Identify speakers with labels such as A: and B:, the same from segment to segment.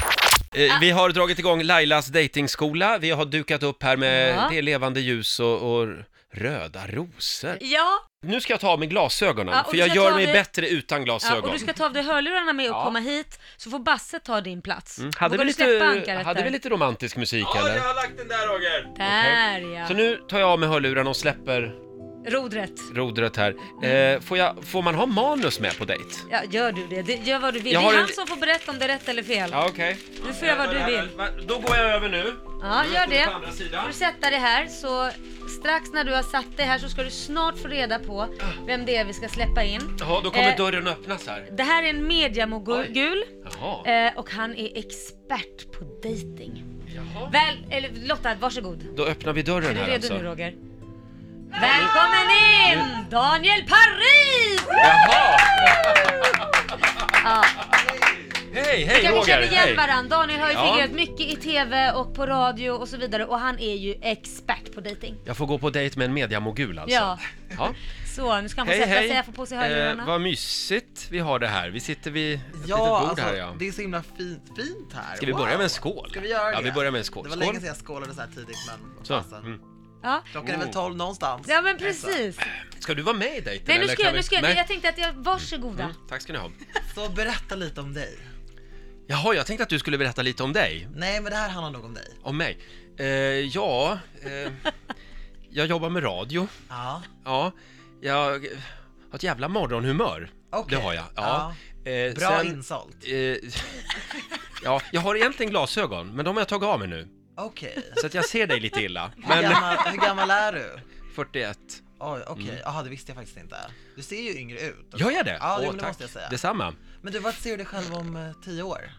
A: Ah.
B: Eh, Vi har dragit igång Lailas datingskola. Vi har dukat upp här med
A: Ja.
B: det är levande ljus och, och röda rosor.
A: Ja,
B: Nu ska jag ta av mig glasögonen,
A: Ja, och
B: för
A: du
B: jag
A: ska
B: gör
A: ta
B: mig
A: dig-
B: bättre utan
A: ja,
B: glasögon.
A: och du ska ta av dig hörlurarna med och
B: Ja.
A: komma hit, så får Basse ta din plats.
B: Mm,
A: Vågar
B: Hade vi,
A: du släppa
B: lite,
A: ankaret
B: hade
A: där?
B: vi lite romantisk musik eller?
C: har lagt den där Roger!
A: Där ja.
B: Så nu tar jag av mig hörlurarna och släpper
A: Rodret.
B: rodret här. Eh,
A: Mm.
B: får, jag, får man ha manus med på dejt?
A: Ja, gör du det. det gör vad du vill.
B: Jag har
A: det är
B: en-
A: han som får berätta om det är rätt eller fel.
B: Ja, okej.
A: Du får göra vad du vill.
B: Va- Då går jag över nu.
A: Ja,
B: Mm,
A: gör
B: står du
A: det.
B: på andra sidan?
A: Får du sätta dig här, så strax när du har satt dig här så ska du snart få reda på vem det är vi ska släppa in.
B: Jaha, då kommer
A: Eh,
B: dörren öppnas här.
A: Det här är en mediamogul
B: Jaha.
A: eh, och han är expert på dating.
B: Jaha.
A: Väl, eller Lotta, varsågod.
B: Då öppnar vi dörren
A: Är du
B: här
A: redo nu
B: alltså.
A: Roger? Välkommen in! Daniel Paris!
B: Jaha!
A: Ja.
B: Hej, hej
A: Ja, vi
B: Roger!
A: känner
B: Hej.
A: igen varandra. Daniel har ju
B: Ja.
A: figurerat mycket i TV och på radio och så vidare och han är ju expert på dating.
B: Jag får gå på dejt med en mediamogul alltså.
A: Ja.
B: Ja.
A: Så nu ska han få
B: Hej,
A: sätta
B: hej.
A: sig, få på sig hörlurarna.
B: Eh, vad mysigt vi har det här. Vi sitter vid ett litet
D: Ja,
B: bord
D: alltså,
B: här ja.
D: det är så himla fint, fint här.
B: Ska vi börja med en skål?
D: Ska vi göra
B: Ja,
D: det?
B: vi börjar med en skål.
D: Det var
B: Skål.
D: länge sedan jag skålade så här tidigt, men
B: Så.
D: fasen.
B: Mm. Oh.
A: ja.
D: Klockan är väl tolv någonstans.
A: ja men precis.
B: Ska du vara med i dejten
A: Nej nu
B: eller
A: ska
B: kan
A: jag,
B: vi-
A: nu ska jag,
B: Nej.
A: jag tänkte att jag, varsågoda.
B: Mm, Tack ska ni ha.
D: Så berätta lite om dig.
B: Jaha, jag tänkte att du skulle berätta lite om dig.
D: Nej, men det här handlar nog om dig.
B: Om mig? Eh, ja, eh, jag jobbar med radio.
D: Ja,
B: Ja, jag har ett jävla morgonhumör.
D: Okej.
B: Det har jag. Ja. Eh,
D: bra
B: sen-
D: insålt.
B: eh, ja, jag har egentligen glasögon, men de har jag tagit av mig nu.
D: Okej.
B: Så att jag ser dig lite illa.
D: Hur,
B: Men
D: gammal, hur gammal är du?
B: 41.
D: Oj, okej. Jaha, det visste jag faktiskt inte. Du ser ju yngre ut.
B: Gör Mm. jag det?
D: Ja, det,
B: Åh,
D: men det
B: tack.
D: måste jag säga.
B: Detsamma.
D: Men du, vad ser du dig själv om eh, tio år?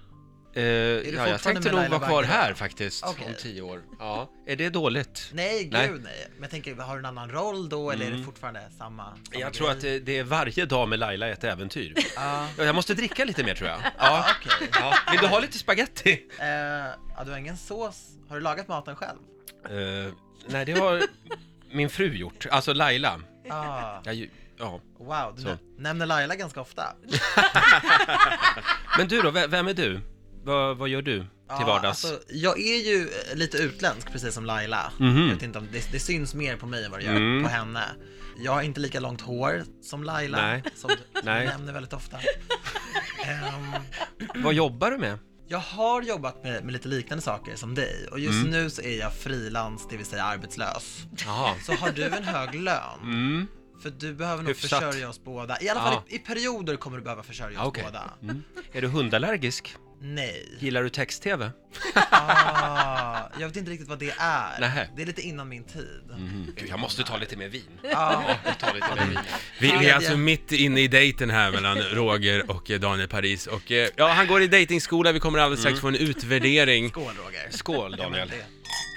B: Eh,
D: du
B: ja, jag
D: fortfarande
B: tänkte
D: med
B: nog
D: Laila
B: vara kvar
D: Bagge då?
B: här faktiskt,
D: Okej.
B: om 10 år. Ja. Är det dåligt?
D: Nej,
B: Nej. Mm.
D: gud nej. Men jag tänker, har du en annan roll då, eller är det fortfarande samma? samma
B: Jag tror att det, det är varje dag med Laila ett äventyr.
D: Ja,
B: Ja, Jag måste dricka lite mer tror jag. Ja.
D: okej.
B: Ja. Vill du ha lite spaghetti?
D: Eh, ja, du har ingen sås. Har du lagat maten själv?
B: Eh, nej, det har min fru gjort. Alltså Laila.
D: Ah,
B: Jag, ju- ja.
D: wow, du
B: Så.
D: nä- nämner Laila ganska ofta.
B: Men du då, ve- vem är du? Vad- vad gör du till
D: Ja,
B: vardags?
D: alltså, jag är ju eh, lite utländsk, precis som Laila.
B: Mhm.
D: Jag vet inte om det, det syns mer på mig än vad det gör
B: Mm.
D: på henne. Jag har inte lika långt hår som Laila,
B: Nej.
D: som du som
B: Nej.
D: du nämner väldigt ofta. Ehm,
B: Vad jobbar du med?
D: jag har jobbat med, med lite liknande saker som dig och
B: Mm.
D: just nu så är jag frilans, det vill säga arbetslös.
B: Jaha.
D: Så har du en hög lön,
B: Mm.
D: för du behöver nog
B: Hyfsat.
D: försörja oss båda. I alla fall
B: Ja.
D: i, i perioder kommer du behöva försörja
B: Ah,
D: oss
B: okej.
D: båda.
B: Mm. Är du hundallergisk?
D: Nej.
B: Gillar du text-tv?
D: Ah, jag vet inte riktigt vad det är.
B: Nähä. Mhm.
D: Det är lite innan min tid.
B: Mm. Gud, jag måste ta lite mer vin.
D: Ah,
B: Jag tar lite mer vin.
C: Vi
D: Ja,
C: vi
D: det-
C: är alltså mitt inne i dejten här mellan Roger och eh, Daniel Paris och eh, ja, han går i dejtingskola, vi kommer alldeles
B: Mm.
C: strax få en utvärdering.
D: skål Roger.
B: Skål Daniel.
D: Det är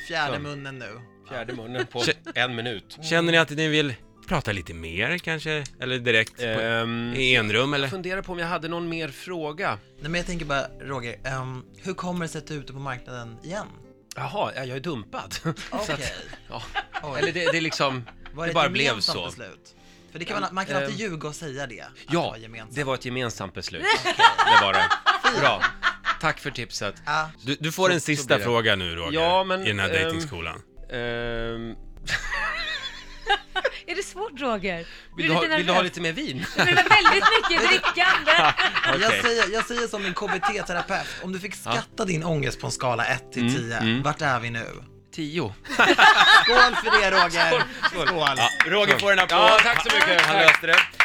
D: Fjärde
B: Så.
D: munnen nu.
B: Fjärde munnen på en minut.
C: Känner ni att ni vill prata lite mer kanske? Eller direkt på,
B: Ehm,
D: Eh,
C: i enrum eller?
B: jag funderar på om jag hade någon mer fråga.
D: Nej men jag tänker bara Roger, ehm, hur kommer det sig att du är ute på marknaden igen?
B: Jaha, ja, jag är dumpad. Så
D: Okej,
B: att, ja.
D: Oj.
B: Eller det, det är liksom,
D: var
B: det
D: det
B: bara
D: ett
B: blev
D: gemensamt
B: så. Ehm,
D: beslut? För det kan man, man kan alltid ljuga och säga det. Att det
B: Ja,
D: var gemensamt.
B: det var ett gemensamt beslut. Det var det. Bra. Tack för tipset.
D: Ah,
C: Du, du får en
B: så
C: sista
B: blir det.
C: fråga nu Roger,
B: Ja, men,
C: i den här
B: ehm,
C: dejtingskolan.
B: Ehm,
A: Är det svårt Roger?
B: vill, du ha, vill du ha
A: nervös?
B: lite mer vin?
A: Men det var väldigt mycket drickande.
B: Okej.
D: jag, säger, jag säger som min KBT-terapeut, om du fick skatta din ångest på en skala 1 till 10, vart är vi nu?
B: Tio.
D: Skål för det Roger! Skål!
B: Ja, Roger får en applåd.
C: Ja,
B: tack så mycket. Han löste det.